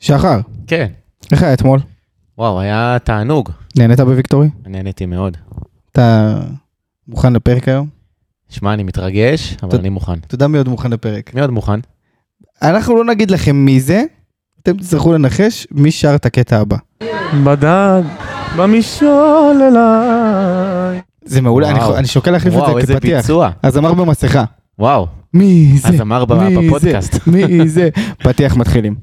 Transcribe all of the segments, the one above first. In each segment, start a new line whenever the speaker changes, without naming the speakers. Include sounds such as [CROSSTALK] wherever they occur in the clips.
שחר,
כן.
איך היה אתמול?
וואו, היה תענוג.
נהנית בוויקטורי?
נהניתי מאוד.
אתה מוכן לפרק היום?
שמע, אני מתרגש, אבל
ת-
אני מוכן.
אתה יודע מי עוד מוכן לפרק.
מי עוד מוכן?
אנחנו לא נגיד לכם מי זה, אתם תצטרכו לנחש מי שר את הקטע הבא.
בדד במשעול אליי.
זה מעולה, אני
וואו.
חו- אני שוקל להחליף את
וואו,
זה
איזה
כפתיח.
ביצוע.
אז אמר במסכה,
וואו,
מי זה?
אז אמר ב-
מי זה?
בפודקאסט.
[LAUGHS] מי זה? פתיח מתחילים.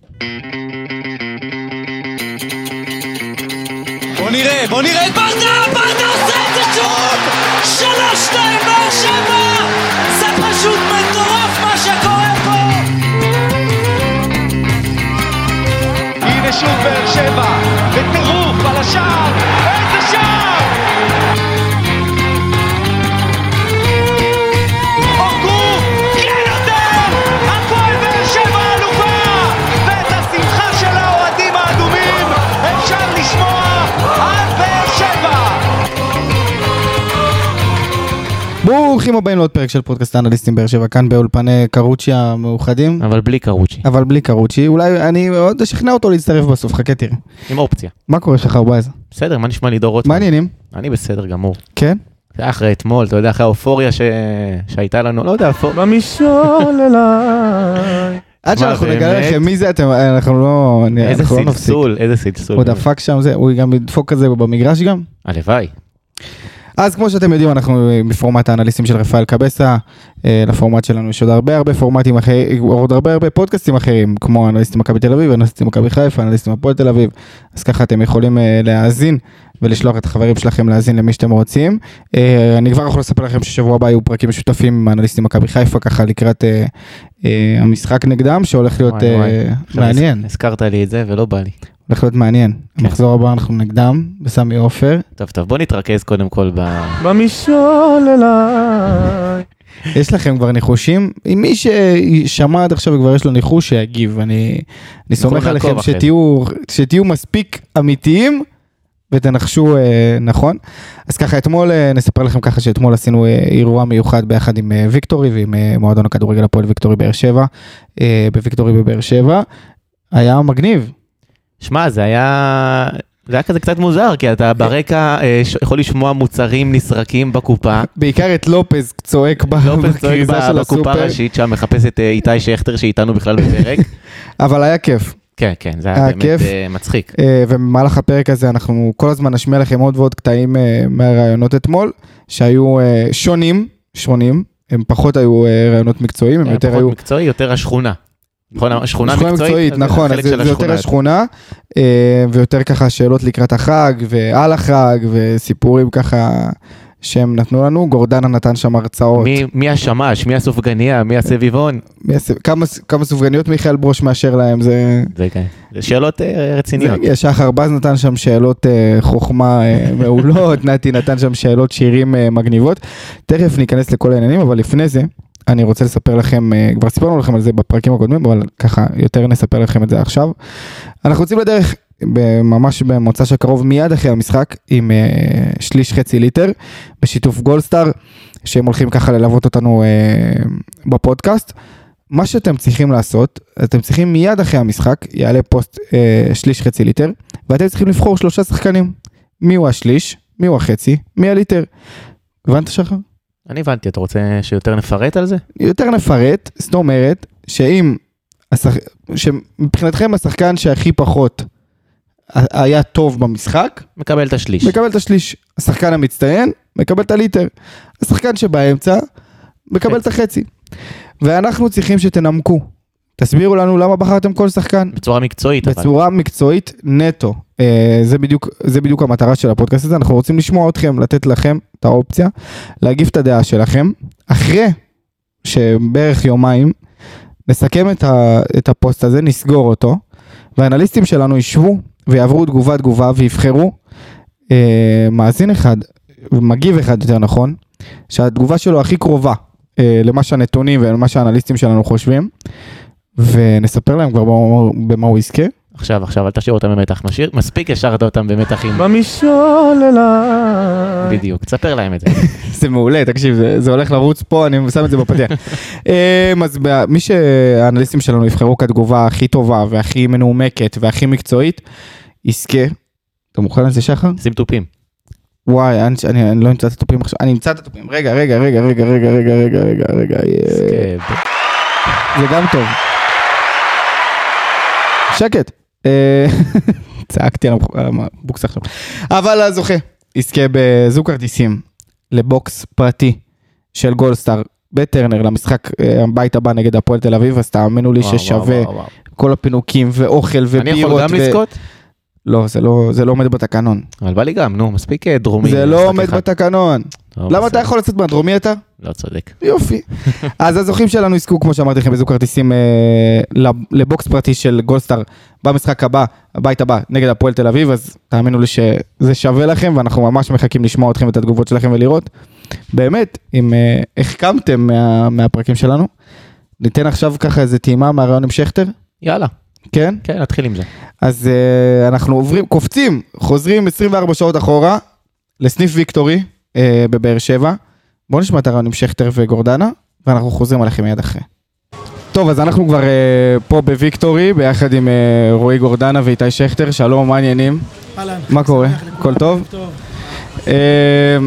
בוא נראה, בוא נראה את ברדה, ברדה עושה את זה שוב! שלוש, שתיים, באר שבע! זה פשוט מטורף מה שקורה פה!
הנה שוב באר שבע, בטירוף על השער, איזה שער! אוגו, כן יותר! הפועל באר שבע אלופה! ואת השמחה של האוהדים האדומים אפשר לשמוע עד באר שבע!
ברוכים הבאים לעוד פרק של פודקאסט האנליסטים באר שבע, כאן באולפני קרוצ'י המאוחדים.
אבל בלי קרוצ'י,
אבל בלי קרוצ'י, אולי אני עוד אשכנע אותו להצטרף בסוף, חכה תראה.
עם אופציה.
מה קורה שחר באז?
בסדר, מה נשמע לידור רוטמן?
מה העניינים?
אני בסדר גמור.
כן?
זה היה אחרי אתמול, אתה יודע, אחרי האופוריה ש... שהייתה לנו, לא יודע, אפור...
במשעול אליי.
עד
מה,
שאנחנו נגלה
באמת?
לכם מי זה אתם, אנחנו לא אני-
איזה
אנחנו לא נפסיק.
סלסול, איזה סלסול.
הוא דפק שם זה, הוא גם ידפוק כזה במגרש גם.
הלוואי.
אז כמו שאתם יודעים אנחנו אה, בפורמט האנליסטים של רפאל קבסה, אה, לפורמט שלנו יש עוד הרבה הרבה פורמטים אחרים, עוד הרבה הרבה פודקאסטים אחרים, כמו אנליסטים מכבי תל אביב, אנליסטים מכבי חיפה, אנליסטים הפועל תל אביב, אז ככה אתם יכולים אה, להאזין ולשלוח את החברים שלכם להאזין למי שאתם רוצים. אה, אני כבר יכול לספר לכם ששבוע הבא יהיו פרקים משותפים עם אנליסטים מכבי חיפה, ככה לקראת אה, אה, המשחק נגדם, שהולך להיות
וואי,
אה,
וואי. עכשיו
מעניין,
הז- הזכרת לי את זה ולא בא לי.
הולך להיות מעניין.
כן.
המחזור הבא אנחנו נגדם, בסמי עופר.
טוב, טוב, בוא נתרכז קודם כל ב...
במשעול אליי.
יש לכם כבר ניחושים? אם מי ששמע עד עכשיו וכבר יש לו ניחוש שיגיב, אני, אני סומך
נעקוב
עליכם
אחרי זה.
שתהיו, שתהיו מספיק אמיתיים ותנחשו אה, נכון. אז ככה אתמול אה, נספר לכם ככה שאתמול עשינו אה, אירוע מיוחד ביחד עם אה, ויקטורי ועם אה, מועדון הכדורגל הפועל ויקטורי באר שבע, אה, בוויקטורי בבאר שבע. היה מגניב,
שמע, זה היה... זה היה כזה קצת מוזר, כי אתה ברקע אה, ש- יכול לשמוע מוצרים נסרקים בקופה.
בעיקר את לופז צועק ב-
לופס אה? צועק
בכריזה של
בקופה
הסופר,
הראשית שם, מחפש את אה, איתי שכטר שאיתנו בכלל
[LAUGHS]
בפרק.
אבל היה כיף.
כן, כן, זה
אה,
היה באמת
כיף.
אה, מצחיק.
אה, ובמהלך הפרק הזה אנחנו כל הזמן נשמיע לכם עוד ועוד קטעים אה, מהראיונות אתמול, שהיו אה, שונים, שונים, הם פחות היו אה, ראיונות מקצועיים, הם
היה
יותר
פחות
היו...
מקצועי, יותר השכונה. נכון, השכונה מקצועית,
נכון, אז
החלק
זה
של
זה יותר
השכונה.
השכונה, אה, ויותר ככה שאלות לקראת החג ועל החג וסיפורים ככה שהם נתנו לנו, גורדנה נתן שם הרצאות,
מי- מי השמש, מי הסופגניה, מי הסביבון.
מי עשה- כמה ס- כמה סופגניות מיכאל ברוש מאשר להם, זה...
זה כן. זה שאלות אה, רציניות.
זה- שחר בז נתן שם שאלות אה, חוכמה אה, מעולות, נתי נתן שם שאלות שירים אה, מגניבות. תכף ניכנס לכל העניינים, אבל לפני זה, אני רוצה לספר לכם, אה, כבר סיפרנו לכם על זה בפרקים הקודמים, אבל ככה, יותר נספר לכם את זה עכשיו. אנחנו יוצאים לדרך. ב- ממש במוצ"ש הקרוב מיד אחרי המשחק עם אה, שליש חצי ליטר בשיתוף גולדסטאר שהם הולכים ככה ללוות אותנו אה, בפודקאסט. מה שאתם צריכים לעשות, אתם צריכים מיד אחרי המשחק, יעלה פוסט אה, שליש חצי ליטר, ואתם צריכים לבחור שלושה שחקנים. מי הוא השליש, מי הוא החצי, מי הליטר. הבנת שחר?
אני הבנתי, אתה רוצה שיותר נפרט על זה?
יותר נפרט, זאת אומרת, שאם, השח... שמבחינתכם השחקן שהכי פחות ה- היה טוב במשחק,
מקבל את השליש.
מקבל את השליש. השחקן המצטיין, מקבל את הליטר. השחקן שבאמצע, מקבל את החצי. ואנחנו צריכים שתנמקו. תסבירו לנו למה בחרתם כל שחקן.
בצורה מקצועית, אבל.
בצורה מקצועית נטו. אה, זה בדיוק, זה בדיוק המטרה של הפודקאסט הזה, אנחנו רוצים לשמוע אתכם, לתת לכם את האופציה, להגיב את הדעה שלכם, אחרי שבערך יומיים נסכם את, ה, את הפוסט הזה, נסגור אותו, והאנליסטים שלנו ישבו ויעברו תגובה תגובה ויבחרו אה, מאזין אחד, מגיב אחד יותר נכון, שהתגובה שלו הכי קרובה אה, למה שהנתונים ולמה שהאנליסטים שלנו חושבים. ונספר להם כבר במה, במה הוא יזכה.
עכשיו, עכשיו, אל תשאיר אותם במתח. משאיר- מספיק השארת אותם במתח עם...
במשעול אליי.
בדיוק, תספר להם
[LAUGHS]
את זה.
זה מעולה, תקשיב, זה, זה הולך לרוץ פה, אני שם את זה בפתיח. אמ, אז ב- מי שהאנליסטים שלנו יבחרו כתגובה הכי טובה והכי מנומקת והכי מקצועית, יזכה. אתה מוכן לזה שחר?
שים תופים.
וואי, אני, אני, אני לא אמצא את התופים עכשיו, אני אמצא את התופים. רגע, רגע, רגע, רגע, רגע, רגע, רגע, רגע, רגע, אה, זה גם טוב. שקט. אה, [LAUGHS] צעקתי על המח- על הבוקס עכשיו. אבל הזוכה יזכה בזוג כרטיסים לבוקס פרטי של גולדסטאר בטרנר למשחק אה, הבית הבא נגד הפועל תל אביב, אז תאמינו לי
וואו,
ששווה
וואו, וואו, וואו.
כל הפינוקים ואוכל ובירות.
אני יכול גם
ו-
לזכות?
לא, זה לא- זה לא עומד בתקנון.
אבל בא לי גם, נו, מספיק אה, דרומי.
זה לא
משחק
עומד
אחד.
בתקנון.
טוב,
למה אתה
בסדר.
יכול לצאת מהדרומי אתה?
לא צודק.
יופי. אז הזוכים שלנו יזכו, כמו שאמרתי לכם, בזוג כרטיסים אה, לב- לבוקס פרטי של גולדסטאר במשחק הבא, הבית הבא, נגד הפועל תל אביב, אז תאמינו לי שזה שווה לכם, ואנחנו ממש מחכים לשמוע אתכם ואת התגובות שלכם ולראות. באמת, אם אה, החכמתם מה, מהפרקים שלנו, ניתן עכשיו ככה איזה טעימה מהרעיון עם שכטר,
יאללה,
כן?
כן, נתחיל עם זה.
אז אה, אנחנו עוברים, קופצים, חוזרים 24 שעות אחורה לסניף ויקטורי אה, בבאר שבע. בואו נשמע את הרעיון עם שכטר וגורדנה, ואנחנו חוזרים עליכם מיד אחרי. טוב, אז אנחנו כבר אה, פה בוויקטורי, ביחד עם אה, רועי גורדנה ואיתי שכטר. שלום, מה העניינים?
אהלן.
מה קורה? הכל טוב?
טוב.
אה,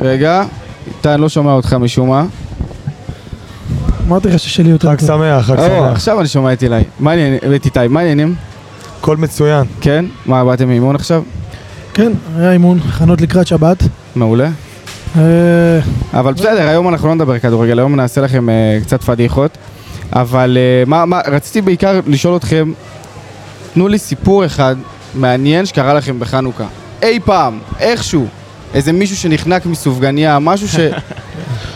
רגע, איתי, אני לא שומע אותך משום מה.
אמרתי לך ששלי יותר
חג
טוב.
שמח, חג
אה,
שמח.
עכשיו אני שומע את אילי. מה העניינים? את איתי, מה העניינים?
הכל מצוין.
כן? מה, באתם מאימון עכשיו?
כן, היה אימון, הכנות לקראת שבת.
מעולה.
אה,
אבל בסדר, היום אנחנו לא נדבר כדורגל, היום נעשה לכם אה, קצת פדיחות. אבל אה, מה, מה, רציתי בעיקר לשאול אתכם, תנו לי סיפור אחד מעניין שקרה לכם בחנוכה. אי פעם, איכשהו, איזה מישהו שנחנק
[LAUGHS]
מסופגניה, משהו ש...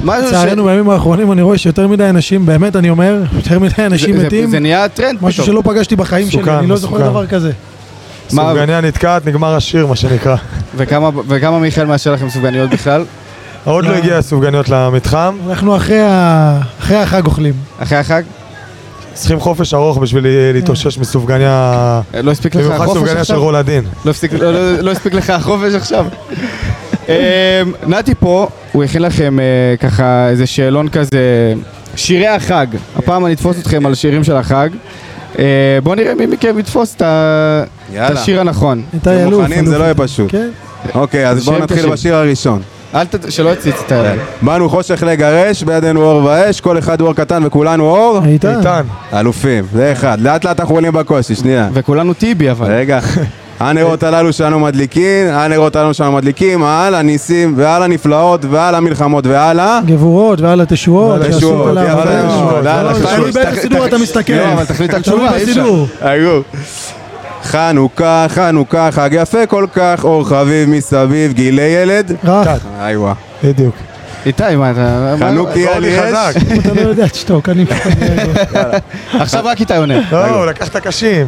משהו
לצערנו בימים האחרונים אני רואה שיותר מדי אנשים, באמת אני אומר, יותר מדי אנשים
זה-
מתים,
זה נהיה טרנד פתאום.
משהו שלא פגשתי בחיים
מסוכן,
שלי, אני לא זוכר
מסוכן.
דבר כזה.
מה-
סופגניה נתקעת, נגמר השיר, מה שנקרא.
וכמה, וכמה מיכאל מאשר לכם סופגניות בכלל?
עוד לא
לא.
הגיע הסופגניות למתחם.
אנחנו אחרי ה- אחרי החג אוכלים.
אחרי החג?
צריכים חופש ארוך בשביל להתאושש מסופגניה...
אה, לא הספיק לך
במיוחד
החופש
סופגניה של
עכשיו?
רולדין.
לא הספיק- לא- לא- לא הספיק לך החופש עכשיו? אה, נתי פה, הוא הכין לכם אה, ככה איזה שאלון כזה, שירי החג. הפעם אני אתפוס אתכם על שירים של החג. אה, בואו נראה מי מכם יתפוס את ה- את
יאללה.
השיר הנכון.
אתם
איתי אלוף.
מוכנים? זה
אלוף.
לא יהיה פשוט.
כן,
אוקיי, אז בואו
שם
נתחיל
קשים.
בשיר הראשון.
אל ת... שלא יציץ את
כן.
ה...
באנו חושך לגרש, בידינו אור ואש, כל אחד הוא אור קטן וכולנו אור.
איתן.
איתן.
אלופים, זה אחד. לאט לאט אנחנו עולים בקושי, שנייה.
וכולנו טיבי אבל.
רגע. הנרות הללו שלנו מדליקין, הנרות הללו שלנו מדליקים, על הניסים ועל הנפלאות ועל המלחמות ועל ה...
גבורות ועל התשועות.
ועל
שעשו
התשועות,
אותה
יפה
לעבודה.
מאוד,
לא,
ועל
לא,
התשועות.
תלוי באיזה סידור אתה מסתכל.
לא, אבל תחליט
[LAUGHS]
על
תלוי
תשובה, אי אפשר.
בסידור.
הגוף. חנוכה, חנוכה, חג יפה כל כך, אור חביב מסביב, גילי ילד.
רך,
איי וואו.
בדיוק.
איתי, מה אתה... מה-
חנוכי על
אורלי
יש.
חזק.
אם אתה לא יודע, תשתוק, אני...
עכשיו רק איתי עונה.
לא,
אה,
הוא לקח את הקשים.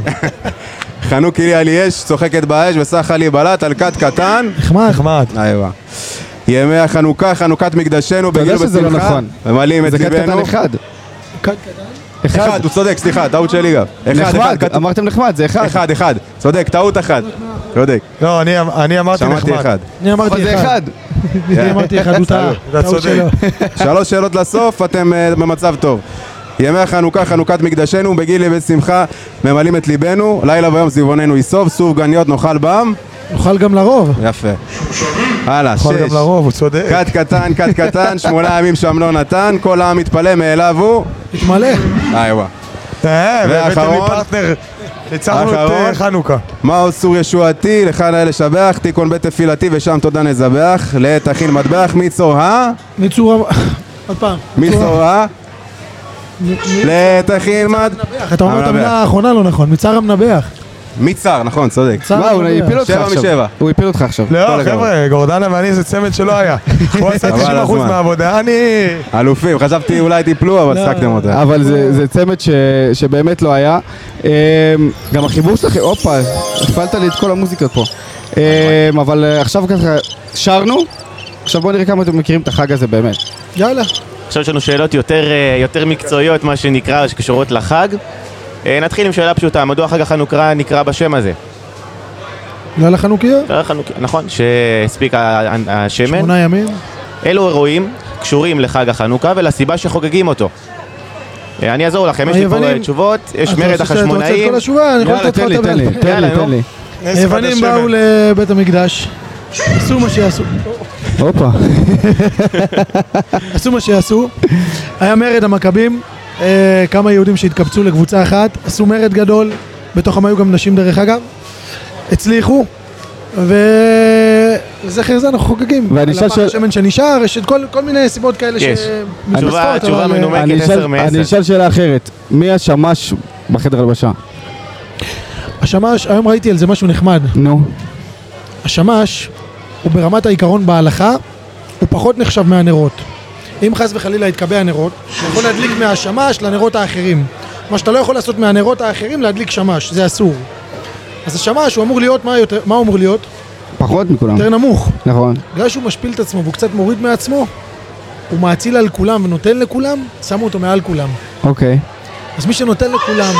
חנוכי לי על יש, צוחקת באש וסחה לי בלט על כת קטן.
נחמד.
נחמד.
איוה. ימי החנוכה, חנוכת מקדשנו
יודע
בגיל
שזה לא
ובשמחה,
נכון.
ממלאים את
זה קטן
ליבנו.
קטן אחד.
אחד, הוא צודק, סליחה, טעות שלי גם. אחד, אחד,
נחמד,
כת-
אמרתם נחמד, זה אחד.
אחד, אחד, צודק, טעות אחת. צודק,
לא, אני- אני אמרתי
שמעתי
נחמד.
אחד.
אני
אבל
אמרתי
זה
אחד.
אחד.
אני אמרתי אחד, הוא טעה.
אתה
טעות
צודק.
שלו.
שלוש שאלות לסוף, אתם אה, במצב טוב. ימי החנוכה, חנוכת מקדשנו, בגיל ובשמחה ממלאים את ליבנו, לילה ויום זיווננו יסוף, סופגניות נאכל בעם,
נאכל גם לרוב.
יפה. הלאה,
יכול גם
שש.
לרוב, הוא צודק.
כת קטן, כת קטן, שמונה ימים שם לא נתן, כל העם מתפלא מאליו הוא,
התמלא.
איוה.
אה, והבאתם לי
ואחרון.
פרטנר. ניצחנו את אה,
אחרון.
חנוכה.
מה עוד צור ישועתי, לך נא לשבח, תיקון בית תפילתי ושם תודה נזבח, לעת תכין מטבח, מי צור ה?
מצור... עוד פעם.
מי צור ה?
מ-
לעת תכין מטבח.
מנבח. אתה אומר את
המנבח.
המילה האחרונה לא נכון. מצר המנבח.
מי צר, נכון, צודק.
צר
מה, הוא
המנבח.
הפיל אותך
שבע
עכשיו.
משבע.
הוא הפיל אותך עכשיו. כל
לא,
הכבוד.
חבר'ה, גורדנה ואני זה צמד שלא היה. הוא עשה
חבל על
90%
הזמן.
מהעבודה, אני...
אלופים, חשבתי אולי תיפלו, אבל הצחקתם אותה.
אבל זה, זה צמד ש, שבאמת לא היה. אמ, גם החיבור שלכם, הופה, הפעלת לי את כל המוזיקות פה. אמ, אבל אה, עכשיו ככה, שרנו, עכשיו בואו נראה כמה אתם מכירים את החג הזה באמת.
יאללה.
עכשיו יש לנו שאלות יותר, אה, יותר מקצועיות, מה שנקרא, שקשורות לחג. אה, נתחיל עם שאלה פשוטה, מדוע חג החנוכה נקרא בשם הזה?
לילה חנוכיה?
אה, חנוכיה, נכון, שהספיק ה- ה- השמן.
שמונה ימים?
אלו אירועים קשורים לחג החנוכה ולסיבה שחוגגים אותו. אה, אני אעזור לכם, יש לי פה
היוונים-
אה, תשובות, יש
אתה
מרד
רוצה- אתה רוצה את
החשמונאים.
כל התשובה? אני יכול
יאללה,
לתת
תן
לך
לי,
אותה
תן לי,
בעל פה.
תן לי,
יאללה,
תן
נו.
לי.
נס חד
היוונים
השמן.
באו לבית המקדש, עשו מה שעשו,
הופה.
עשו מה שעשו, היה מרד המכבים, אה, כמה יהודים שהתקבצו לקבוצה אחת, עשו מרד גדול, בתוכם היו גם נשים דרך אגב, הצליחו, ולזכר זה אנחנו חוגגים,
ואני אשאל
לפח
שאל-
השמן שנשאר, יש את כל, כל מיני סיבות כאלה
יש.
שמתווספות,
תשובה- תשובה
אבל, אה,
מנומקת.
אני אשאל-
עשר מעשר.
אני אשאל שאלה אחרת, מי השמש בחדר הלבשה?
אה, השמש, היום ראיתי על זה משהו נחמד,
נו.
השמש הוא ברמת העיקרון בהלכה, הוא פחות נחשב מהנרות. אם חס וחלילה יתקבע הנרות, אתה יכול להדליק מהשמש לנרות האחרים. מה שאתה לא יכול לעשות מהנרות האחרים, להדליק שמש, זה אסור. אז השמש, הוא אמור להיות, מה, יותר, מה הוא אמור להיות?
פחות מכולם.
יותר נמוך.
נכון.
בגלל שהוא משפיל את עצמו והוא קצת מוריד מעצמו, הוא מאציל על כולם ונותן לכולם, שמו אותו מעל כולם.
אוקיי.
אז מי שנותן לכולם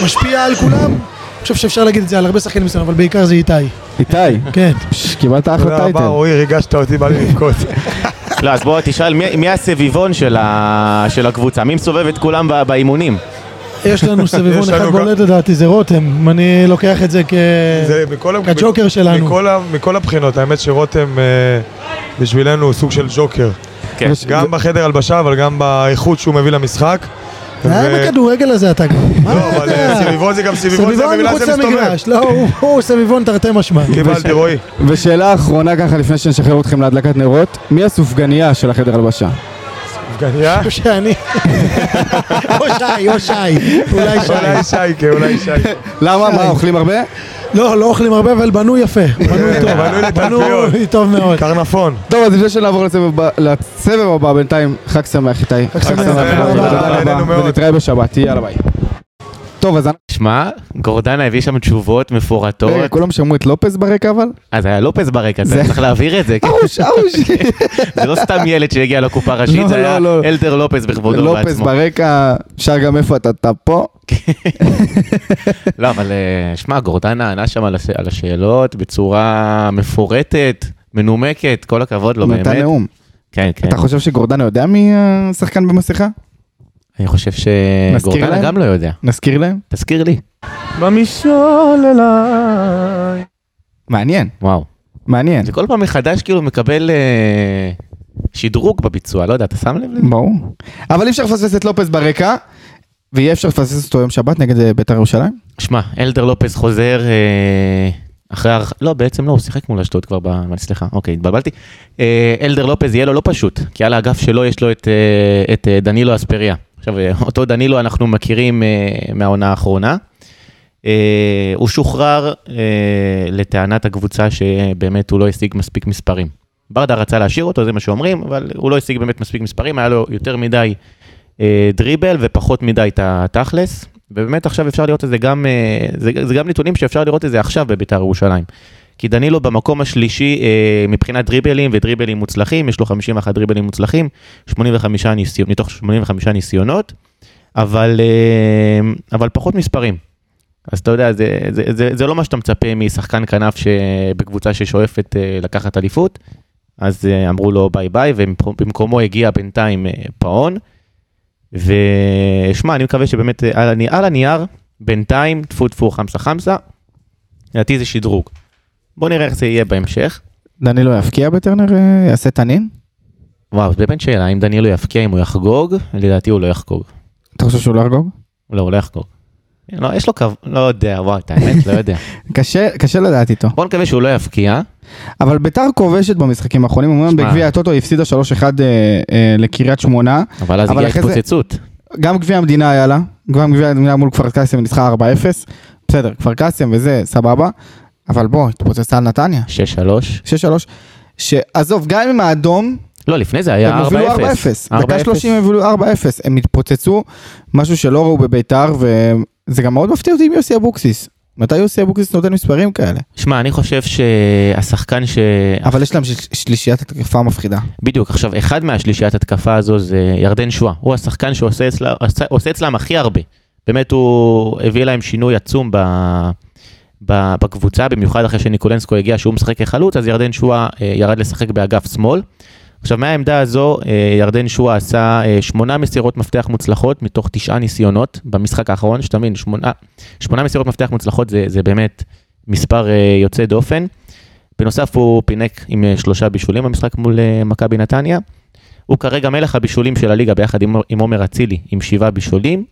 ומשפיע על כולם, אני חושב שאפשר להגיד את זה על הרבה שחקנים מסוים, אבל בעיקר זה איתי.
איתי,
כן.
פש, קיבלת אחלה
תודה רבה,
טייטל.
רועי, ריגשת אותי, בא לי לבכות.
לא, אז בוא תשאל, מי- מי הסביבון של ה- של הקבוצה? מי מסובב את כולם ב- באימונים?
יש לנו
[LAUGHS]
סביבון
יש
אחד
לנו
בולט לדעתי, זה רותם. אני לוקח את זה כ...
זה מכל ה-
כג'וקר
מכל-
שלנו.
מכל ה- מכל הבחינות, האמת שרותם אה, בשבילנו הוא סוג של ג'וקר.
כן.
יש-
גם בחדר הלבשה, אבל גם באיכות שהוא מביא למשחק.
אה, מה עם
ו-
הכדורגל הזה אתה גם? מה
לא, אבל אה,
אתה?
סביבון זה גם סביבון, זה
סביבון
בגלל
מחוץ
זה מסתובב. כן.
למגרש. לא, הוא- הוא סביבון תרתי משמע.
קיבלתי, רועי.
ושאלה אחרונה ככה לפני שנשחרר אתכם להדלקת נרות, מי הסופגניה של החדר הלבשה?
סופגניה?
או שאני... או שי, או שי. אולי שי.
אולי שייקה, אולי שייקה.
למה? מה, אוכלים הרבה?
לא, לא אוכלים הרבה, אבל בנו יפה. בנו טוב.
כן, בנוי לתלפיות.
בנו טוב מאוד.
קרנפון.
טוב, אז לפני שנעבור לסבב ב- לסבב הבא, בינתיים, חג שמח איתי. חג
שמח,
תודה רבה.
תודה
נהנינו
רבה,
מאוד.
ונתראה בשבת, יאללה ביי. טוב, אז אנחנו-
שמע, גורדנה הביא שם תשובות
רגע,
מפורטות,
כולם שמעו את לופס ברקע אבל?
אז היה לופס ברקע, אתה
אה, זה-
צריך להבהיר את זה, כן?
[LAUGHS] ארוש, ארוש.
[LAUGHS] זה לא סתם ילד שהגיע לקופה
לא,
ראשית, זה
לא,
היה
לא.
אלדר לופס בכבודו
לופס
ובעצמו.
ברקע, שר גם איפה אתה, אתה פה.
לא, אבל אה, שמע, גורדנה ענה שם על הש- על השאלות בצורה מפורטת, מנומקת, כל הכבוד לו, לא, באמת.
נתן נאום.
כן, כן.
אתה חושב שגורדנה יודע מי אה, השחקן במסכה?
אני חושב
נזכיר
שגורדנה
להם?
גם לא יודע.
נזכיר להם?
תזכיר לי.
מעניין,
וואו.
מעניין.
זה כל פעם מחדש כאילו מקבל אה, שדרוג בביצוע, לא יודע, אתה שם לב לזה?
ברור. אבל אי אפשר לפספס את לופס ברקע, ויהיה אפשר לפספס אותו יום שבת נגד אה, בית"ר ירושלים?
שמע, אלדר לופס חוזר אה, אחרי... הרח- לא, בעצם לא, הוא שיחק מול אשדוד כבר ב... אבל סליחה, אוקיי, התבלבלתי. אה, אלדר לופס יהיה לו לא פשוט, כי על האגף שלו יש לו את, אה, את אה, דנילו אספריה. עכשיו, אה, אותו דנילו אנחנו מכירים אה, מהעונה האחרונה. אה, הוא שוחרר אה, לטענת הקבוצה שבאמת הוא לא השיג מספיק מספרים. ברדה רצה להשאיר אותו, זה מה שאומרים, אבל הוא לא השיג באמת מספיק מספרים, היה לו יותר מדי אה, דריבל ופחות מדי את התכלס. ובאמת עכשיו אפשר לראות את זה גם, אה, זה, זה גם נתונים שאפשר לראות את זה עכשיו בביתר ירושלים. כי דנילו במקום השלישי אה, מבחינת דריבלים ודריבלים מוצלחים, יש לו 51 דריבלים מוצלחים, 85 ניסיונות, מתוך 85 ניסיונות, אבל, אה, אבל פחות מספרים. אז אתה יודע, זה, זה, זה, זה לא מה שאתה מצפה משחקן כנף שבקבוצה ששואפת אה, לקחת אליפות, אז אה, אמרו לו ביי ביי, ובמקומו הגיע בינתיים אה, פאון. ושמע, אני מקווה שבאמת אה, על, הני- על הנייר, בינתיים, טפו טפו חמסה חמסה, לדעתי זה שדרוג. בוא נראה איך זה יהיה בהמשך.
דנילו לא יפקיע בטרנר? אה, יעשה תנין?
וואו, זה באמת שאלה, אם דנילו יפקיע, אם הוא יחגוג, לדעתי הוא לא יחגוג.
אתה חושב שהוא לא יחגוג?
לא, הוא לא יחגוג. לא, יש לו קו... לא יודע, וואי, את האמת, לא יודע.
קשה, קשה לדעת איתו.
בוא נקווה שהוא לא יפקיע.
אבל ביתר כובשת במשחקים האחרונים, אומרים
שמע.
בגביע הטוטו היא הפסידה 3-1 אה, אה, לקריית שמונה.
אבל אז
אבל
הגיעה
אחרי זה-
התפוצצות.
גם גביע המדינה היה לה, גם גביע המדינה מול כפר קאסם ניצחה 4-0. בסדר, כפר קאסם וזה, סבבה. אבל בוא, התפוצצה על נתניה.
6-3.
6-3. שעזוב, גם עם האדום,
לא, לפני זה היה 4-0.
הם הובילו 4-0.
4-0.
דקה 30 הם הובילו 4-0. הם התפוצצו, משהו שלא ראו בביתר, וזה גם מאוד מפתיע אותי עם יוסי אבוקסיס. מתי יוסי אבוקסיס נותן מספרים כאלה?
שמע, אני חושב שהשחקן ש...
אבל יש להם של- שלישיית התקפה מפחידה.
בדיוק, עכשיו, אחד מהשלישיית התקפה הזו זה ירדן שואה. הוא השחקן שעושה אצלה, עושה, עושה אצלם הכי הרבה. באמת, הוא הביא להם שינוי עצום ב, ב- בקבוצה, במיוחד אחרי שניקולנסקו הגיע שהוא משחק כחלוץ, אז ירדן שואה אה, ירד לשחק באגף שמאל. עכשיו מהעמדה הזו, אה, ירדן שואה עשה אה, שמונה מסירות מפתח מוצלחות מתוך תשעה ניסיונות במשחק האחרון, שתבין, שמונה, שמונה מסירות מפתח מוצלחות זה, זה באמת מספר אה, יוצא דופן. בנוסף הוא פינק עם אה, שלושה בישולים במשחק מול אה, מכבי נתניה. הוא כרגע מלך הבישולים של הליגה ביחד עם, עם עומר אצילי עם שבעה בישולים,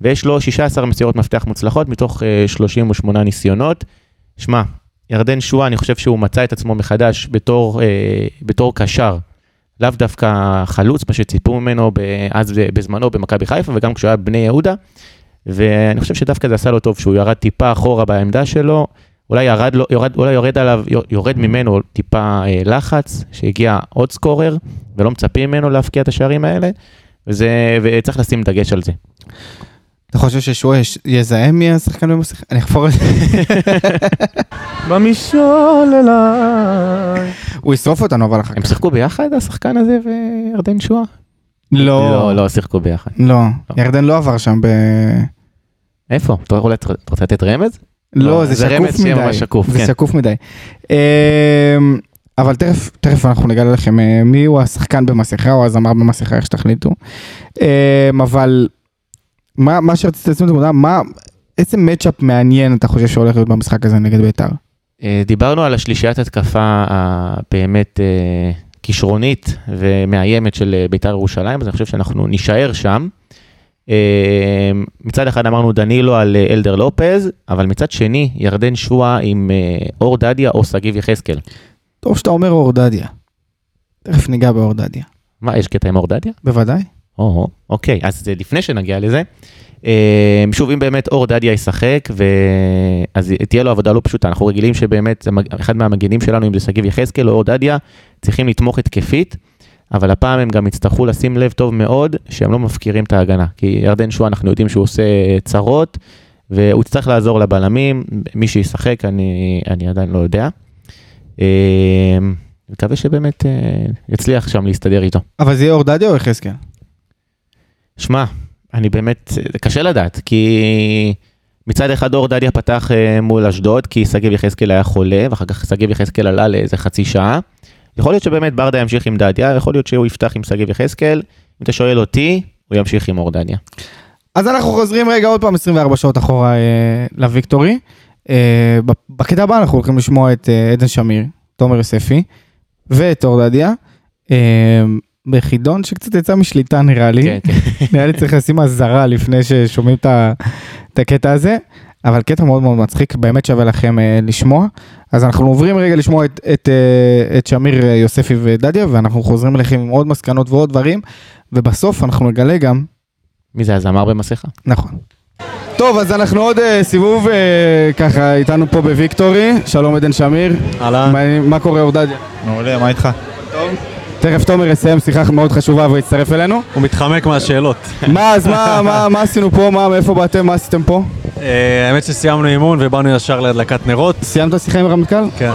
ויש לו 16 מסירות מפתח מוצלחות מתוך אה, 38 ניסיונות. שמע, ירדן שואה, אני חושב שהוא מצא את עצמו מחדש בתור, אה, בתור קשר. לאו דווקא חלוץ, מה שציפו ממנו ב- אז ב- בזמנו במכבי חיפה וגם כשהוא היה בני יהודה. ואני חושב שדווקא זה עשה לו טוב שהוא ירד טיפה אחורה בעמדה שלו, אולי ירד לו, יורד, אולי יורד עליו, יורד ממנו טיפה אה, לחץ, שהגיע עוד סקורר, ולא מצפים ממנו להפקיע את השערים האלה, וזה, וצריך לשים דגש על זה.
אתה חושב ששועה יש- יזהה מי השחקן במסך? אני אחפור את זה.
במשעול אליי.
הוא ישרוף אותנו אבל אחר
הם
כך.
שיחקו ביחד, השחקן הזה וירדן שואה? לא, לא שיחקו ביחד.
לא. ירדן לא עבר שם ב...
איפה? אתה יכול לת- אתה רוצה לתת רמז?
לא, זה
זה רמז
שקוף
שיהיה
מדי.
ממש שקוף,
זה
כן.
שקוף מדי. אמ, אבל תכף, תכף אנחנו נגלה לכם אה, מי הוא השחקן במסכה או הזמר במסכה, איך שתחליטו. אמ, אבל מה מה שרציתי לשים את התמונה, מה, איזה מצ'אפ מעניין אתה חושב שהולך להיות במשחק הזה נגד בית"ר?
אה, דיברנו על השלישיית התקפה הבאמת אה, כישרונית ומאיימת של אה, בית"ר ירושלים, אז אני חושב שאנחנו נישאר שם. אה, מצד אחד אמרנו דנילו על אה, אלדר לופז, אבל מצד שני ירדן שואה עם אה, אור דדיה או שגיב יחזקאל.
טוב שאתה אומר אורדדיה. תכף ניגע באורדדיה.
מה, יש קטע עם אור דדיה?
בוודאי.
או, אוקיי, אז אה, לפני שנגיע לזה, אה, שוב, אם באמת אור דדיה ישחק, ו... אז תהיה לו עבודה לא פשוטה. אנחנו רגילים שבאמת, המג- אחד מהמגנים שלנו, אם זה שגיב יחזקאל או אור דדיה, צריכים לתמוך התקפית, אבל הפעם הם גם יצטרכו לשים לב טוב מאוד שהם לא מפקירים את ההגנה. כי ירדן שואה, אנחנו יודעים שהוא עושה אה, צרות, והוא יצטרך לעזור לבלמים, מי שישחק, אני, אני עדיין לא יודע. אה, מקווה שבאמת אה, יצליח שם להסתדר איתו.
אבל זה יהיה אורדדיה או יחזקאל?
שמע, אני באמת, זה קשה לדעת, כי מצד אחד אור דדיה פתח אה, מול אשדוד, כי שגיב יחזקאל היה חולה, ואחר כך שגיב יחזקאל עלה לאיזה חצי שעה. יכול להיות שבאמת ברדה ימשיך עם דדיה, יכול להיות שהוא יפתח עם שגיב יחזקאל. אם אתה שואל אותי, הוא ימשיך עם אור דדיה.
אז אנחנו חוזרים רגע עוד פעם 24 שעות אחורה אה, לוויקטורי. אה, ב- בקטע הבא אנחנו הולכים לשמוע את אה, עדן שמיר, תומר יוספי ואת אורדדיה. אה, בחידון שקצת יצא משליטה נראה לי.
אוקיי.
כן, כן.
[LAUGHS] נראה לי צריך לשים אזהרה לפני ששומעים את ה- את הקטע הזה. אבל קטע מאוד מאוד מצחיק, באמת שווה לכם אה, לשמוע. אז אנחנו עוברים רגע לשמוע את, את, אה, את שמיר אה, יוספי ודדיה, ואנחנו חוזרים אליכם עם עוד מסקנות ועוד דברים, ובסוף אנחנו נגלה גם
מי זה הזמר במסכה?
נכון. טוב, אז אנחנו עוד אה, סיבוב אה, ככה איתנו פה בוויקטורי. שלום עדן שמיר.
אהלן.
מה- מה קורה אורדדיה?
מעולה, מה איתך?
תכף תומר יסיים שיחה מאוד חשובה והוא יצטרף אלינו.
הוא מתחמק מהשאלות.
מה, אז מה, מה, מה עשינו פה? מה, מאיפה באתם? מה עשיתם פה?
אה, האמת שסיימנו אימון ובאנו ישר להדלקת נרות.
סיימת שיחה עם הרמטכ"ל?
כן.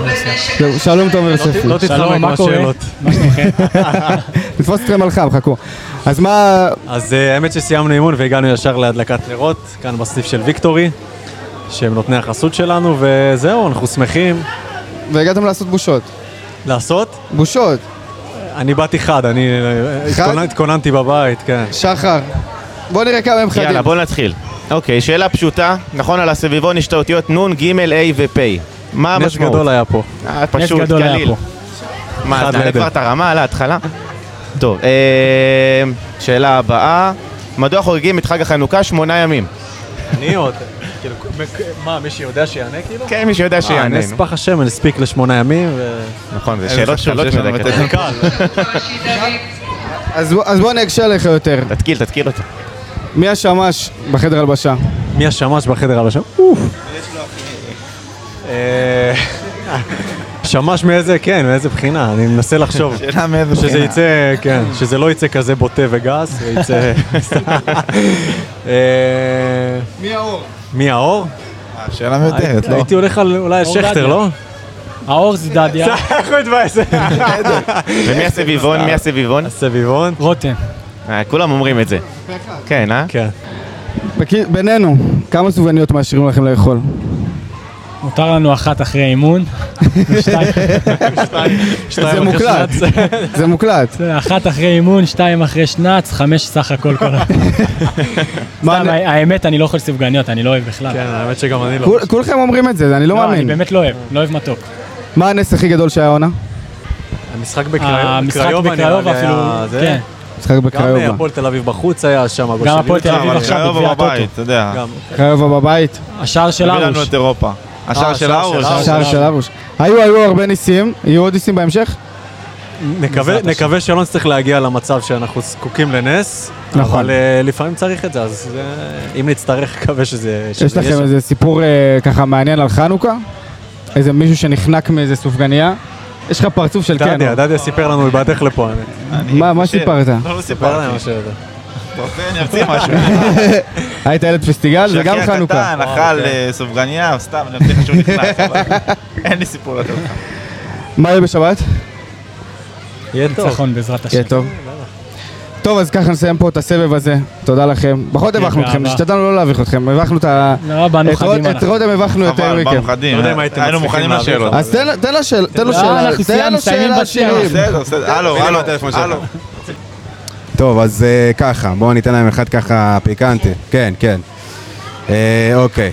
זהו, שלום תומר יוספי.
לא תתחמק מהשאלות.
נתפוס אתכם על חם, חכו. אז מה,
אז אה, האמת שסיימנו אימון והגענו ישר להדלקת נרות, כאן בסניף של ויקטורי, שהם נותני החסות שלנו, וזהו, אנחנו שמחים
והגעתם לעשות בושות.
לעשות.
בושות,
אני באתי חד, אני אה,
חד?
התכונן- התכוננתי בבית, כן.
שחר. בוא נראה כמה הם חדים.
יאללה, בוא נתחיל. אוקיי, שאלה פשוטה. נכון, על הסביבון יש את האותיות נ', ג', ה' ופ'. מה
נס
המשמעות?
גדול היה פה.
אה, פשוט,
גדול היה
קליל.
פה.
מה,
אחד
אז נעלה
לעדר.
כבר את הרמה על ההתחלה? טוב, אה, שאלה הבאה. מדוע חוגגים את חג החנוכה שמונה ימים?
אני עוד... כאילו, מ- מה, מישהו יודע שיענה כאילו?
כן, מי שיודע
אה,
שיענה.
נס פח השמן הספיק לשמונה ימים, ו...
נכון, זה שאלות קלות מדי. כזה.
זה קל.
אז בוא- אז בוא נקשה עליך יותר.
תתקיל, תתקיל [LAUGHS] אותו.
מי השמש בחדר הלבשה?
מי השמש בחדר הלשון? אוף. אה, שמש מאיזה, כן, מאיזה בחינה, אני מנסה לחשוב.
שאלה מאיזה
שזה יצא, כן, שזה לא יצא כזה בוטה וגס, ויצא... אה,
מי האור?
מי האור?
שאלה מיותרת, לא?
הייתי הולך על אולי שכטר, לא?
האור זה
[LAUGHS]
דדיה,
איך הוא התבאס?
ומי הסביבון? מי הסביבון?
הסביבון?
רותם.
אה, כולם אומרים את זה. כן, אה?
כן.
בקי- בינינו, כמה סובלניות מאשרים לכם לאכול?
מותר לנו אחת אחרי
[LAUGHS]
אימון. שתיים-
זה מוקלט, [LAUGHS]
[LAUGHS]
זה מוקלט.
אחת אחרי אימון, שתיים אחרי שנץ, חמש סך הכל
[LAUGHS]
כל ה... סתם, האמת, אני לא אוכל סופגניות, אני לא אוהב בכלל. כן,
האמת שגם אני לא
כול- כולכם אומרים את זה, אני לא
לא, אני
מאמין.
באמת לא אוהב, לא אוהב מתוק.
מה הנס הכי גדול שהיה העונה?
המשחק בקריוב-
המשחק
בקריובה נראה
בקריובה
לי
אפילו,
היה זה.
כן.
משחק
גם
בקריובה.
אה, הפועל תל אביב בחוץ היה שם. הגול
גם
של
הפועל תל
יוטה.
אביב
אבל לא
עכשיו
קריובה
בגביע הטוטו.
בבית, אתה יודע.
גם-
קריובה
אה,
בבית.
השער של
הביא לנו
ארוש.
את אירופה. השער
אה,
של
השער
ארוש.
של ארוש.
שער של ארוש. היו, היו הרבה ניסים, יהיו עוד ניסים בהמשך?
נקווה, נקווה שלא נצטרך להגיע למצב שאנחנו זקוקים לנס.
נכון.
אבל אה, לפעמים צריך את זה, אז אה, אם נצטרך, נקווה שזה... שזה
יש
יהיה
לכם
שם.
איזה סיפור אה, ככה מעניין על חנוכה? איזה מישהו שנחנק מאיזה סופגניה? יש לך פרצוף של כן.
דדיה, דדיה סיפר לנו בדרך לפה, האמת.
מה מה
חושב. [LAUGHS]
סיפרת?
לא, לא
סיפר להם
סיפרתי.
משהו הזה.
אוקיי, אני אמציא משהו.
היית ילד פסטיגל? זה גם
שאחי
חנוכה. אוקיי.
הקטן אכל אה, סופגניה, סתם, אני אמציא לך שהוא נכנס. אבל
[LAUGHS]
אין לי סיפור לתת לך.
מה יהיה בשבת?
יהיה
[LAUGHS]
טוב.
ניצחון נכון, בעזרת השם.
יהיה טוב. טוב, אז ככה נסיים פה את הסבב הזה. תודה לכם. פחות הבכנו אתכם,
באהבה.
השתדלנו לא להביך אתכם. הבכנו את ה...
לא, באנו
את רוד-
חדים
את
אנחנו.
רותם הבכנו יותר
חבל, באנו
מכם.
חדים.
לא יודע אם הייתם
היינו
מצליחים
מוכנים
להעביר,
לשאלות.
אבל-
אז תן לה- תן לה שאלה, תן לו
לא,
שאלה,
אנחנו
תן
סיימנו,
לו
מסיימים
שאלה
בשאלה.
שירים.
בסדר, בסדר. הלו,
הנה
הלו,
הטלפון שלך.
הלו.
טוב, אז אה, ככה, בואו ניתן להם אחד ככה פיקנטי. כן, כן. אה, אוקיי.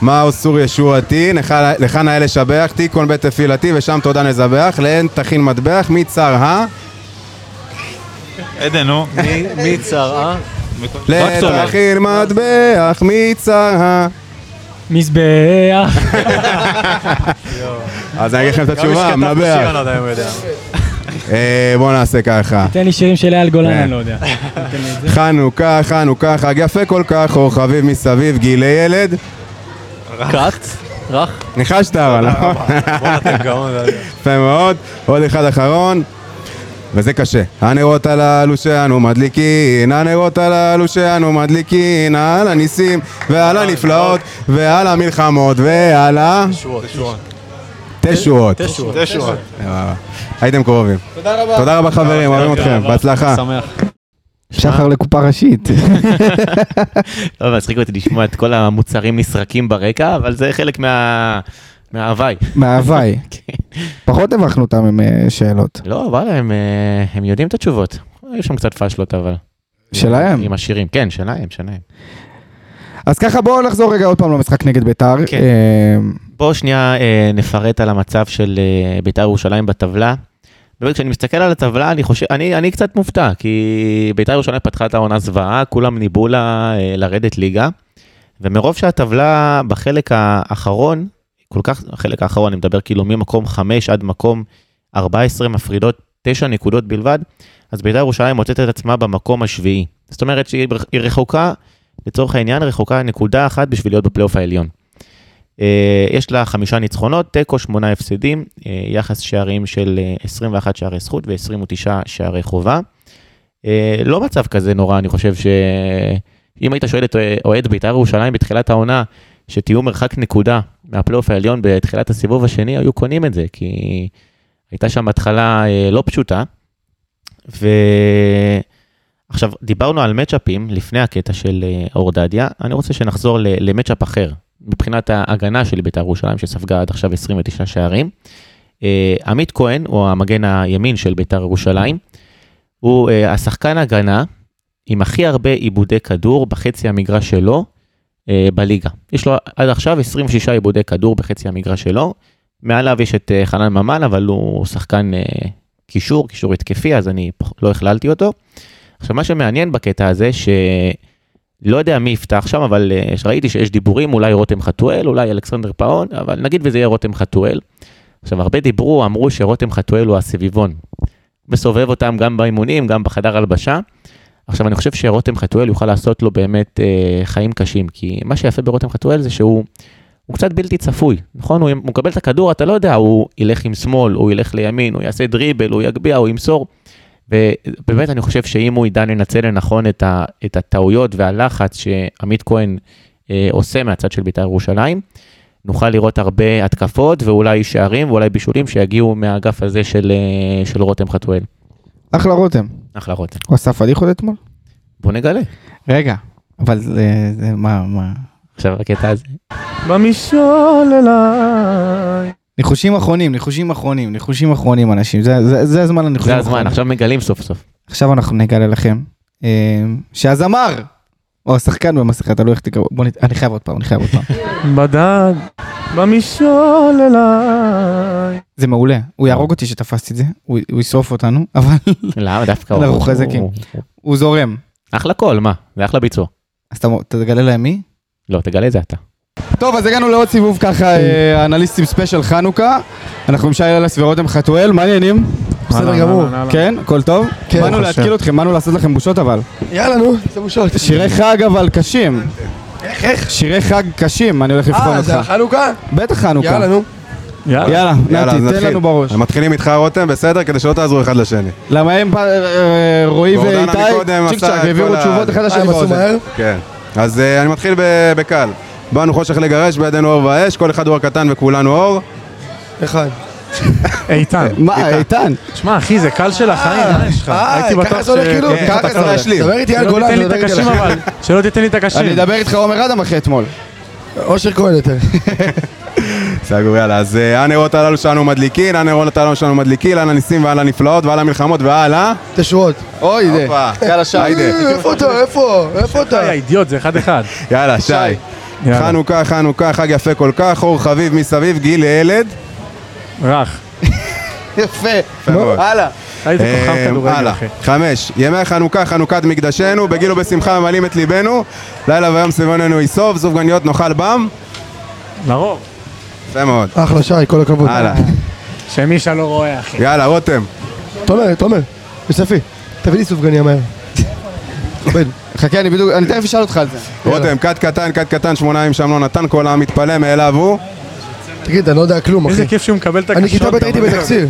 מה אוסור ישועתי, לך- לך נאה לשבח, תיקון בית תפילתי ושם תודה נזבח, להן תכין מטבח, מצר ה...
עדן, נו.
מי- [LAUGHS] מי צרעה?
להן
צומח.
תכין מטבח, מצר ה...
מזבח.
אז אני אגיד לכם את
גם מי שכתב
התשובה,
את השיר, אני
מנבח.
לא יודע אם הוא יודע.
אה, בואו נעשה ככה.
תן לי שירים של אייל גולן,
כן.
אני לא
[LAUGHS]
יודע. תן לי את זה.
חנוכה, חנוכה, חג יפה כל כך, אור חביב מסביב, גילי ילד.
כת? רך?
ניחשת אבל, נכון?
בואנה, אתם
[LAUGHS]
גאון.
יפה מאוד. עוד אחד אחרון. וזה קשה. הנרות הללו שאנו מדליקין, הנרות הללו שאנו מדליקין, על הניסים ועל
אה,
הנפלאות ועל המלחמות ועל ה...
שורות.
תשועות.
תשורות.
זה שורה.
סבבה. הייתם קרובים. תודה רבה. תודה רבה חברים, אוהבים אתכם. בהצלחה.
שמח.
שחר לקופה ראשית.
לא, מצחיק אותי לשמוע את כל המוצרים נסרקים ברקע, אבל זה חלק מה... מההוואי.
מההוואי.
כן.
פחות הבכנו אותם עם אה, שאלות.
לא, וואלה, הם, אה, הם יודעים את התשובות. היו שם קצת פאשלות, אבל.
שלהם.
עם השירים, כן, שלהם, שלהם.
אז ככה בואו נחזור רגע עוד פעם למשחק נגד ביתר.
כן.
אה,
בואו שנייה אה, נפרט על המצב של אה, בית"ר ירושלים בטבלה. באמת, כשאני מסתכל על הטבלה, אני חושב, אני, אני קצת מופתע, כי בית"ר ירושלים פתחה את העונה זוועה, כולם ניבאו לה אה, לרדת ליגה, ומרוב שהטבלה בחלק האחרון, כל כך, החלק האחרון, אני מדבר כאילו ממקום 5 עד מקום 14, מפרידות 9 נקודות בלבד, אז בית"ר ירושלים מוצאת את עצמה במקום השביעי. זאת אומרת שהיא היא רחוקה, לצורך העניין, רחוקה נקודה אחת בשביל להיות בפלייאוף העליון. אה, יש לה חמישה ניצחונות, תיקו, שמונה הפסדים, אה, יחס שערים של אה, 21 שערי זכות ו-29 שערי חובה. אה, לא מצב כזה נורא, אני חושב שאם היית שואל את אה, אוהד בית"ר ירושלים בתחילת העונה, שתהיו מרחק נקודה מהפלייאוף העליון בתחילת הסיבוב השני, היו קונים את זה, כי הייתה שם התחלה אה, לא פשוטה. ועכשיו, דיברנו על מצ'אפים לפני הקטע של אה, אור דדיה, אני רוצה שנחזור ל- למצ'אפ אחר, מבחינת ההגנה של בית"ר ירושלים, שספגה עד עכשיו 29 שערים. אה, עמית כהן, הוא המגן הימין של בית"ר ירושלים, הוא אה, השחקן הגנה עם הכי הרבה עיבודי כדור בחצי המגרש שלו אה, בליגה. יש לו עד עכשיו 26 עיבודי כדור בחצי המגרש שלו. מעליו יש את אה, חנן ממן, אבל הוא שחקן אה, קישור, קישור התקפי, אז אני פח- לא הכללתי אותו. עכשיו, מה שמעניין בקטע הזה, ש... לא יודע מי יפתח שם, אבל אה, ראיתי שיש דיבורים, אולי רותם חתואל, אולי אלכסנדר פאון, אבל נגיד וזה יהיה רותם חתואל. עכשיו, הרבה דיברו, אמרו שרותם חתואל הוא הסביבון. מסובב אותם גם באימונים, גם בחדר הלבשה. עכשיו, אני חושב שרותם חתואל יוכל לעשות לו באמת אה, חיים קשים, כי מה שיפה ברותם חתואל זה שהוא הוא קצת בלתי צפוי, נכון? הוא, הוא מקבל את הכדור, אתה לא יודע, הוא ילך עם שמאל, הוא ילך לימין, הוא יעשה דריבל, הוא יגביה, הוא ימסור. ובאמת אני חושב שאם הוא ידע לנצל לנכון את, ה, את הטעויות והלחץ שעמית כהן אה, עושה מהצד של בית"ר ירושלים, נוכל לראות הרבה התקפות ואולי שערים ואולי בישולים שיגיעו מהאגף הזה של, אה, של רותם חתואל.
אחלה רותם.
אחלה רותם.
הוא עשה פדיחות אתמול?
בוא נגלה.
רגע. אבל זה, זה מה, מה,
עכשיו הקטע הזה.
במשול אליי. ניחושים אחרונים, ניחושים אחרונים, ניחושים אחרונים, אנשים. זה- זה זה הזמן לניחושים
זה הזמן,
האחרונים.
עכשיו מגלים סוף סוף.
עכשיו אנחנו נגלה לכם אה, שהזמר, או השחקן במסכה, תלוי איך תקראו, בוא נ... אני חייב עוד פעם, אני חייב עוד
[LAUGHS]
פעם.
בדד, במשעול אליי.
זה מעולה, הוא יהרוג אותי שתפסתי את זה, הוא, הוא ישרוף אותנו, אבל [LAUGHS]
למה דווקא הוא?
אנחנו חזקים.
הוא-
הוא זורם.
אחלה קול, מה? זה אחלה ביצוע.
אז אתה תגלה להם מי?
לא, תגלה את זה אתה.
טוב, אז הגענו לעוד סיבוב ככה, אה, אנליסטים ספיישל חנוכה. אנחנו עם שי אלס ורותם חתואל, מה העניינים?
בסדר גמור. אהלן, אהלן.
כן, הכל טוב?
כן.
באנו
ברוך
להתקיל
השם.
אתכם, באנו לעשות לכם בושות אבל.
יאללה נו, זה בושות.
שירי חג אבל קשים. איך, איך? שירי חג קשים, אני הולך לבחון
אה,
אותך.
זה החנוכה?
בטח חנוכה.
יאללה נו.
יאללה,
יאללה,
נתי,
אז
תן
נתחיל. אמ-
לנו בראש.
מתחילים איתך רותם, בסדר? כדי שלא תעזרו אחד לשני.
למה הם, אה, אה, רועי
גורדנה
ואיתי,
מקודם
צ'יק
עשה
צ'אק,
את
העבירו
כל ה-
תשובות אחד לשני באוזן.
כן. אז אה, אני מתחיל ב- בקל. באנו חושך לגרש, בידינו אור ואש, כל אחד הוא הקטן וכולנו אור.
אחד.
איתן.
מה, איתן?
שמע, אחי, זה קל של החיים, מה יש לך?
אה,
הייתי
ככה
בטוח
זה הולך כאילו?
כן,
ככה
אתה
זה
קרוב.
הולך לי. דבר איתי על
שלא
גולן,
תיתן לי
לא
את
תגיד
הקשים
עליי.
אבל. שלא תיתן לי את הקשים.
אני אדבר איתך עומר אדם אחרי אתמול.
אושר כהן יותר.
סגור, יאללה. אז אה, הנרות הללו שלנו מדליקין, הנרות הללו שלנו מדליקין, על הניסים ועל הנפלאות ועל המלחמות ועל ה...
תשורות.
אוי, זה.
יאללה,
שי.
אה, איפה אתה? איפה? איפה אתה?
אה, יא אידיוט, זה אחד אחד.
יאללה, שי. חנוכה, חנוכה, חג יפה כל כך, אור חביב מסביב, גיל ילד.
רך.
יפה.
מאוד.
הלאה.
היית
אה,
כוכב כדורגל,
הלאה.
אחי.
חמש, ימי חנוכה, חנוכת מקדשנו, בגיל ובשמחה ממלאים את ליבנו, לילה ויום סביבנו יסוף, זופגניות נאכל בם.
לרוב.
יפה מאוד.
אחלה שי, כל הכבוד.
הלאה.
שמישה לא רואה, אחי.
יאללה, רותם.
תומר, תומר, יוספי, תביא לי סופגניה מהר.
כבד. חכה, אני בדיוק, אני תכף אשאל אותך על זה.
רותם, כת קטן, כת קטן, שמונה אם שם לא נתן, כל העם מתפלא, מאליו הוא.
תגיד, אני לא יודע כלום, אחי.
איזה כיף שהוא מקבל את הקשות.
אני כיתה ב'
אתה
הייתי
מבין?
בתקציב.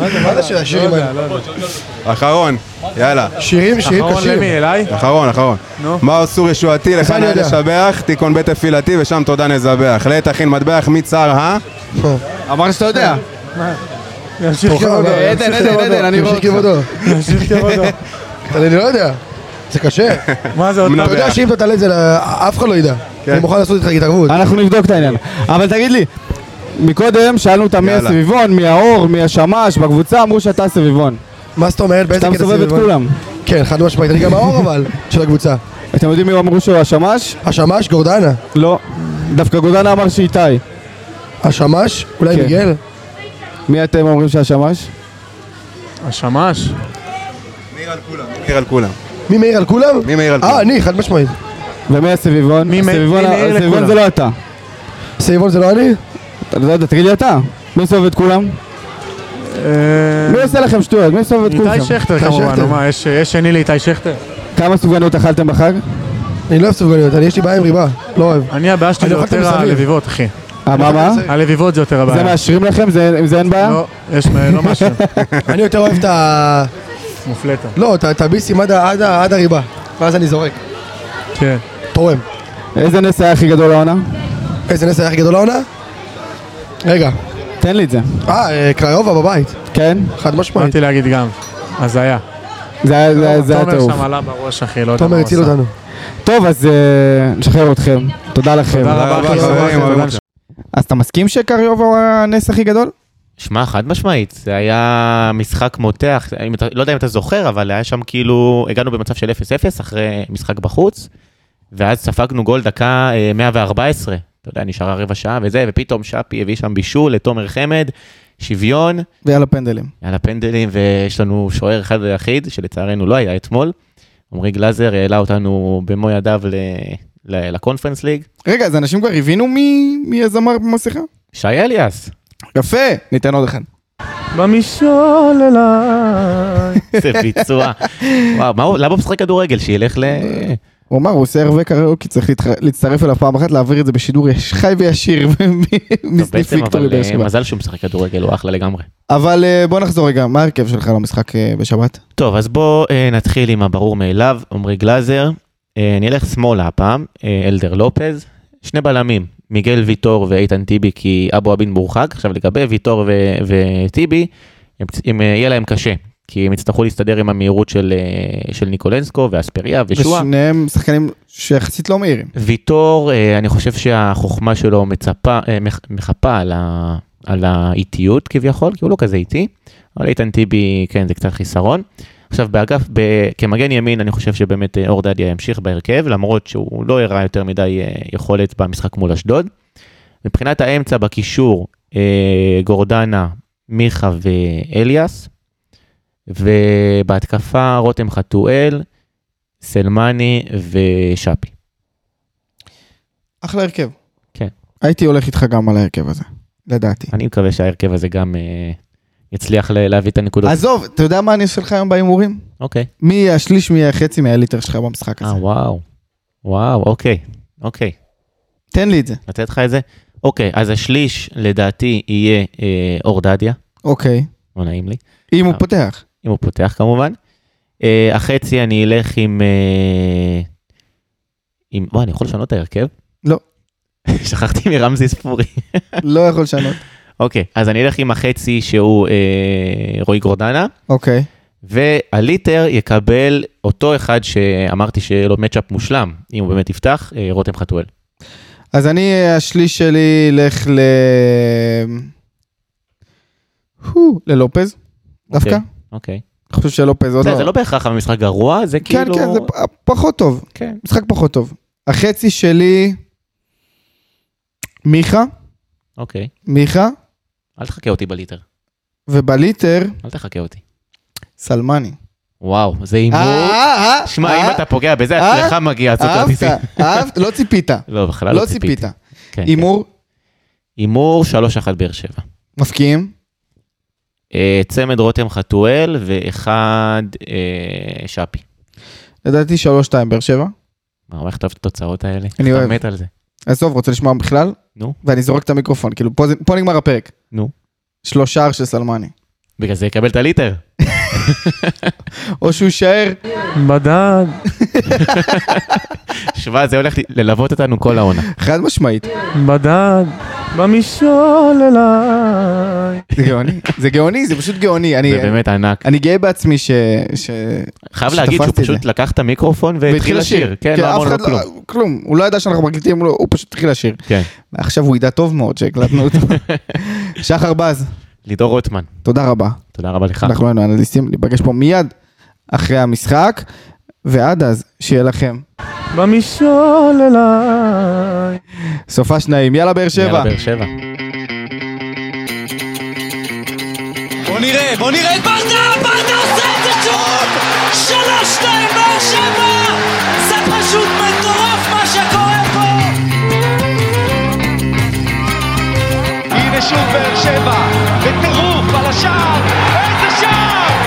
מה זה,
מה זה של השירים
לא יודע,
האלה?
לא יודע.
אחרון, יאללה.
שירים, שירים
אחרון
קשים.
לא, למי,
[LAUGHS]
אליי?
אחרון, אחרון.
נו.
מה אסור ישועתי, לך
אני
נא
יודע.
לשבח, תיקון בית תפילתי ושם תודה נזבח. לעת אחין מטבח, מצער, אה?
טוב.
אמרת שאתה יודע.
ימשיך
תורך,
כבודו.
אבל,
עדן,
ימשיך
עדן,
כבודו,
עדן, אני רואה
ימשיך
אותך.
כבודו.
ימשיך כבודו.
אבל אני לא יודע. זה קשה.
[LAUGHS] מה זה עוד
אתה יודע שאם אתה תעלה את זה, לא- אף אחד לא ידע.
כן.
אני מוכן לעשות איתך התערבות.
אה?
אנחנו נבדוק את העניין. אבל תגיד לי, מקודם שאלנו אותם מי
יאללה.
הסביבון, מי האור, מי השמש, בקבוצה אמרו שאתה הסביבון.
מה זאת אומרת? באיזה
שאתה
קטע
מסובב את
סביבון?
כולם.
כן, חד משמעית. אני גם האור אבל, של הקבוצה.
אתם יודעים מי אמרו שהוא השמש?
השמש, גורדנה.
לא. דווקא גודנה אמר שאיתי.
השמש, אולי
כן.
מיגל?
מי אתם אומרים שהשמש?
השמש?
מאיר על כולם.
מי מאיר על כולם?
מי מאיר על
אה,
כולם.
אני, חד משמעית.
ומי הסביבון?
מי מ-
הסביבון-
מי מאיר
הסביבון
לכולם?
זה לא אתה.
סביבון זה לא אני?
אתה לא יודע, תגיד לי אתה. מי מסובב את כולם?
אה,
מי עושה לכם שטויות? מי מסובב את
איתי
כולכם?
שכטר
איתי
כמובן,
שכטר.
נו, מה, יש יש שני לאיתי שכטר?
כמה סופגנות אכלתם בחג?
אני לא אוהב סופגניות, אני יש לי בעיה עם ריבה. לא אוהב.
אני הבעיה שלי
אני
זה
אוכל את
יותר
המסביב.
הלביבות, אחי.
אה, מה, מה?
הלביבות זה יותר
זה
הבעיה.
מאשרים לכם? זה- עם זה אין בעיה?
אה. לא, יש, מה- לא משהו,
אני יותר אוהב את ה...
מופלטה.
לא, את- את הביסים עד ה- עד ה- עד הריבה. ואז אני זורק.
כן.
תורם.
איזה נס היה הכי גדול העונה?
איזה נס היה הכי גדול העונה? רגע.
תן לי את זה.
אה, אה, קריובה בבית.
כן?
חד משמעית.
באתי להגיד גם. הזיה.
זה היה- זה היה- זה היה
תומר
טירוף.
שם עלה בראש, אחי, לא יודע מה
תומר
הוא
הציל
עשה.
אותנו.
טוב, אז אה, נשחרר אתכם. תודה לכם.
תודה רבה,
רבה,
אוקיי,
אחי,
חברים,
שמחתי,
אוהבים
תודה
אתכם.
אז אתה מסכים שקריוב הוא הנס הכי גדול?
שמע, חד משמעית, זה היה משחק מותח, אם אתה, לא יודע אם אתה זוכר, אבל היה שם כאילו, הגענו במצב של 0-0 אחרי משחק בחוץ, ואז ספגנו גול דקה אה, 114, אתה יודע, נשארה רבע שעה וזה, ופתאום שפי הביא שם בישול לתומר חמד, שוויון,
ויאללה פנדלים.
על הפנדלים, ויש לנו שוער אחד ויחיד, שלצערנו לא היה אתמול. עמרי גלאזר העלה אותנו במו ידיו ל... ל- לקונפרנס ליג.
רגע, אז אנשים כבר הבינו מי מי הזמר במסכה?
שי אליאס,
יפה, ניתן עוד אחד.
במשעול אליי.
זה ביצוע. וואו, מה הוא- למה הוא משחק כדורגל? שילך ל...
הוא אמר, הוא עושה הרבה קריוקי, צריך להתח- להצטרף אליו פעם אחת, להעביר את זה בשידור יש- חי וישיר [LAUGHS]
טוב,
מסניף
בעצם,
ויקטורי
אבל
באר
אה,
שבע.
מזל שהוא משחק כדורגל, הוא אחלה לגמרי.
אבל אה, בוא נחזור רגע, מה ההרכב שלך למשחק אה, בשבת?
טוב, אז בואו נתחיל עם הברור מאליו, עמרי גלאזר. אה, נלך שמאלה הפעם, אה, אלדר לופז. שני בלמים, מיגל ויטור ואיתן טיבי, כי אבו אבין מורחק. עכשיו לגבי ויטור ו- וטיבי, הם צ- הם, אה, יהיה להם קשה. כי הם יצטרכו להסתדר עם המהירות של, אה, של ניקולנסקו ואספריה ושואה.
ושניהם שחקנים שיחסית לא מהירים.
ויטור, אה, אני חושב שהחוכמה שלו מצפה, אה, מח- מחפה על, ה, על האיטיות כביכול, כי הוא לא כזה איטי, אבל איתן טיבי, כן, זה קצת חיסרון. עכשיו, באגף, ב, כמגן ימין, אני חושב שבאמת אה, אור דדיה ימשיך בהרכב, למרות שהוא לא הראה יותר מדי אה, יכולת במשחק מול אשדוד. מבחינת האמצע בקישור, אה, גורדנה, מיכה ואליאס, ובהתקפה רותם חתואל, סלמני ושאפי.
אחלה הרכב.
כן.
הייתי הולך איתך גם על ההרכב הזה, לדעתי.
אני מקווה שההרכב הזה גם אה, יצליח ל- להביא את הנקודות.
עזוב, אתה יודע מה אני עושה לך היום בהימורים?
אוקיי.
מי יהיה השליש, מי יהיה החצי מהליטר שלך במשחק הזה.
אה, וואו. וואו, אוקיי. אוקיי.
תן לי את זה.
לתת לך את זה? אוקיי, אז השליש לדעתי יהיה אה, אור דדיה.
אוקיי.
לא נעים לי.
אם הוא
אה,
פותח.
אם הוא פותח כמובן. אה, החצי אני אלך עם... אה, עם... וואי, אני יכול לשנות את ההרכב?
לא.
[LAUGHS] שכחתי מרמזי ספורי.
לא יכול
[LAUGHS]
לשנות.
אוקיי, אז אני אלך עם החצי שהוא אה, רועי גורדנה.
אוקיי.
והליטר יקבל אותו אחד שאמרתי שיהיה לו מצ'אפ מושלם, אם הוא באמת יפתח, אה, רותם חתואל.
אז אני, השליש שלי ילך ל... הו, ללופז, דווקא.
אוקיי.
אני חושב שלופז עוד
זה, זה לא בהכרח המשחק גרוע, זה
כן,
כאילו...
כן, זה פ- פחות טוב.
כן.
משחק פחות טוב. החצי שלי... מיכה,
אוקיי.
מיכה,
אל תחכה אותי בליטר,
ובליטר,
אל תחכה אותי.
סלמני.
וואו, זה הימור.
אה, אה,
שמע,
אה,
אם אתה פוגע בזה,
אה,
אצלך מגיע לעשות
אהבת, אהבת, לא ציפית.
[LAUGHS] לא, בכלל לא
לא
ציפיתי.
ציפית.
כן,
הימור,
הימור 3-1 באר שבע.
מפקיעים.
אה, צמד רותם חתואל ואחד אה, שפי.
לדעתי 3-2 באר שבע.
מה, איך אתה אוהב את התוצאות האלה?
אני אוהב.
אתה מת על זה.
עזוב, רוצה לשמוע בכלל?
נו.
ואני זורק את המיקרופון, כאילו, פה, זה- פה נגמר הפרק.
נו.
שלושה של סלמני.
בגלל זה יקבל את הליטר.
או שהוא יישאר...
מדד.
שמע, זה הולך ל- ללוות אותנו כל העונה.
חד משמעית.
מדד. במשעול אליי.
זה גאוני, זה גאוני, זה פשוט גאוני. אני,
זה באמת ענק.
אני גאה בעצמי ש... ש...
חייב להגיד שהוא
שתפסתי את
פשוט
זה.
לקח את המיקרופון והתחיל לשיר. כן, לא
אף
אמרנו לו
אחד
כלום.
כלום. הוא לא ידע שאנחנו מקליטים, לא, הוא פשוט התחיל לשיר.
כן.
ועכשיו הוא ידע טוב מאוד שהקלטנו
[LAUGHS]
אותו. שחר בז,
לידור רוטמן,
תודה רבה.
תודה רבה לך.
אנחנו היינו אנליסטים, ניפגש פה מיד אחרי המשחק, ועד אז, שיהיה לכם
במשעול אליי.
סופה שניים. יאללה באר שבע.
יאללה, באר שבע.
בוא נראה, בוא נראה את ברדה, ברדה עושה את זה שוב! שלוש, שתיים, באר שבע! זה פשוט מטורף מה שקורה פה!
הנה שוב באר שבע, בטירוף על השער, איזה שער!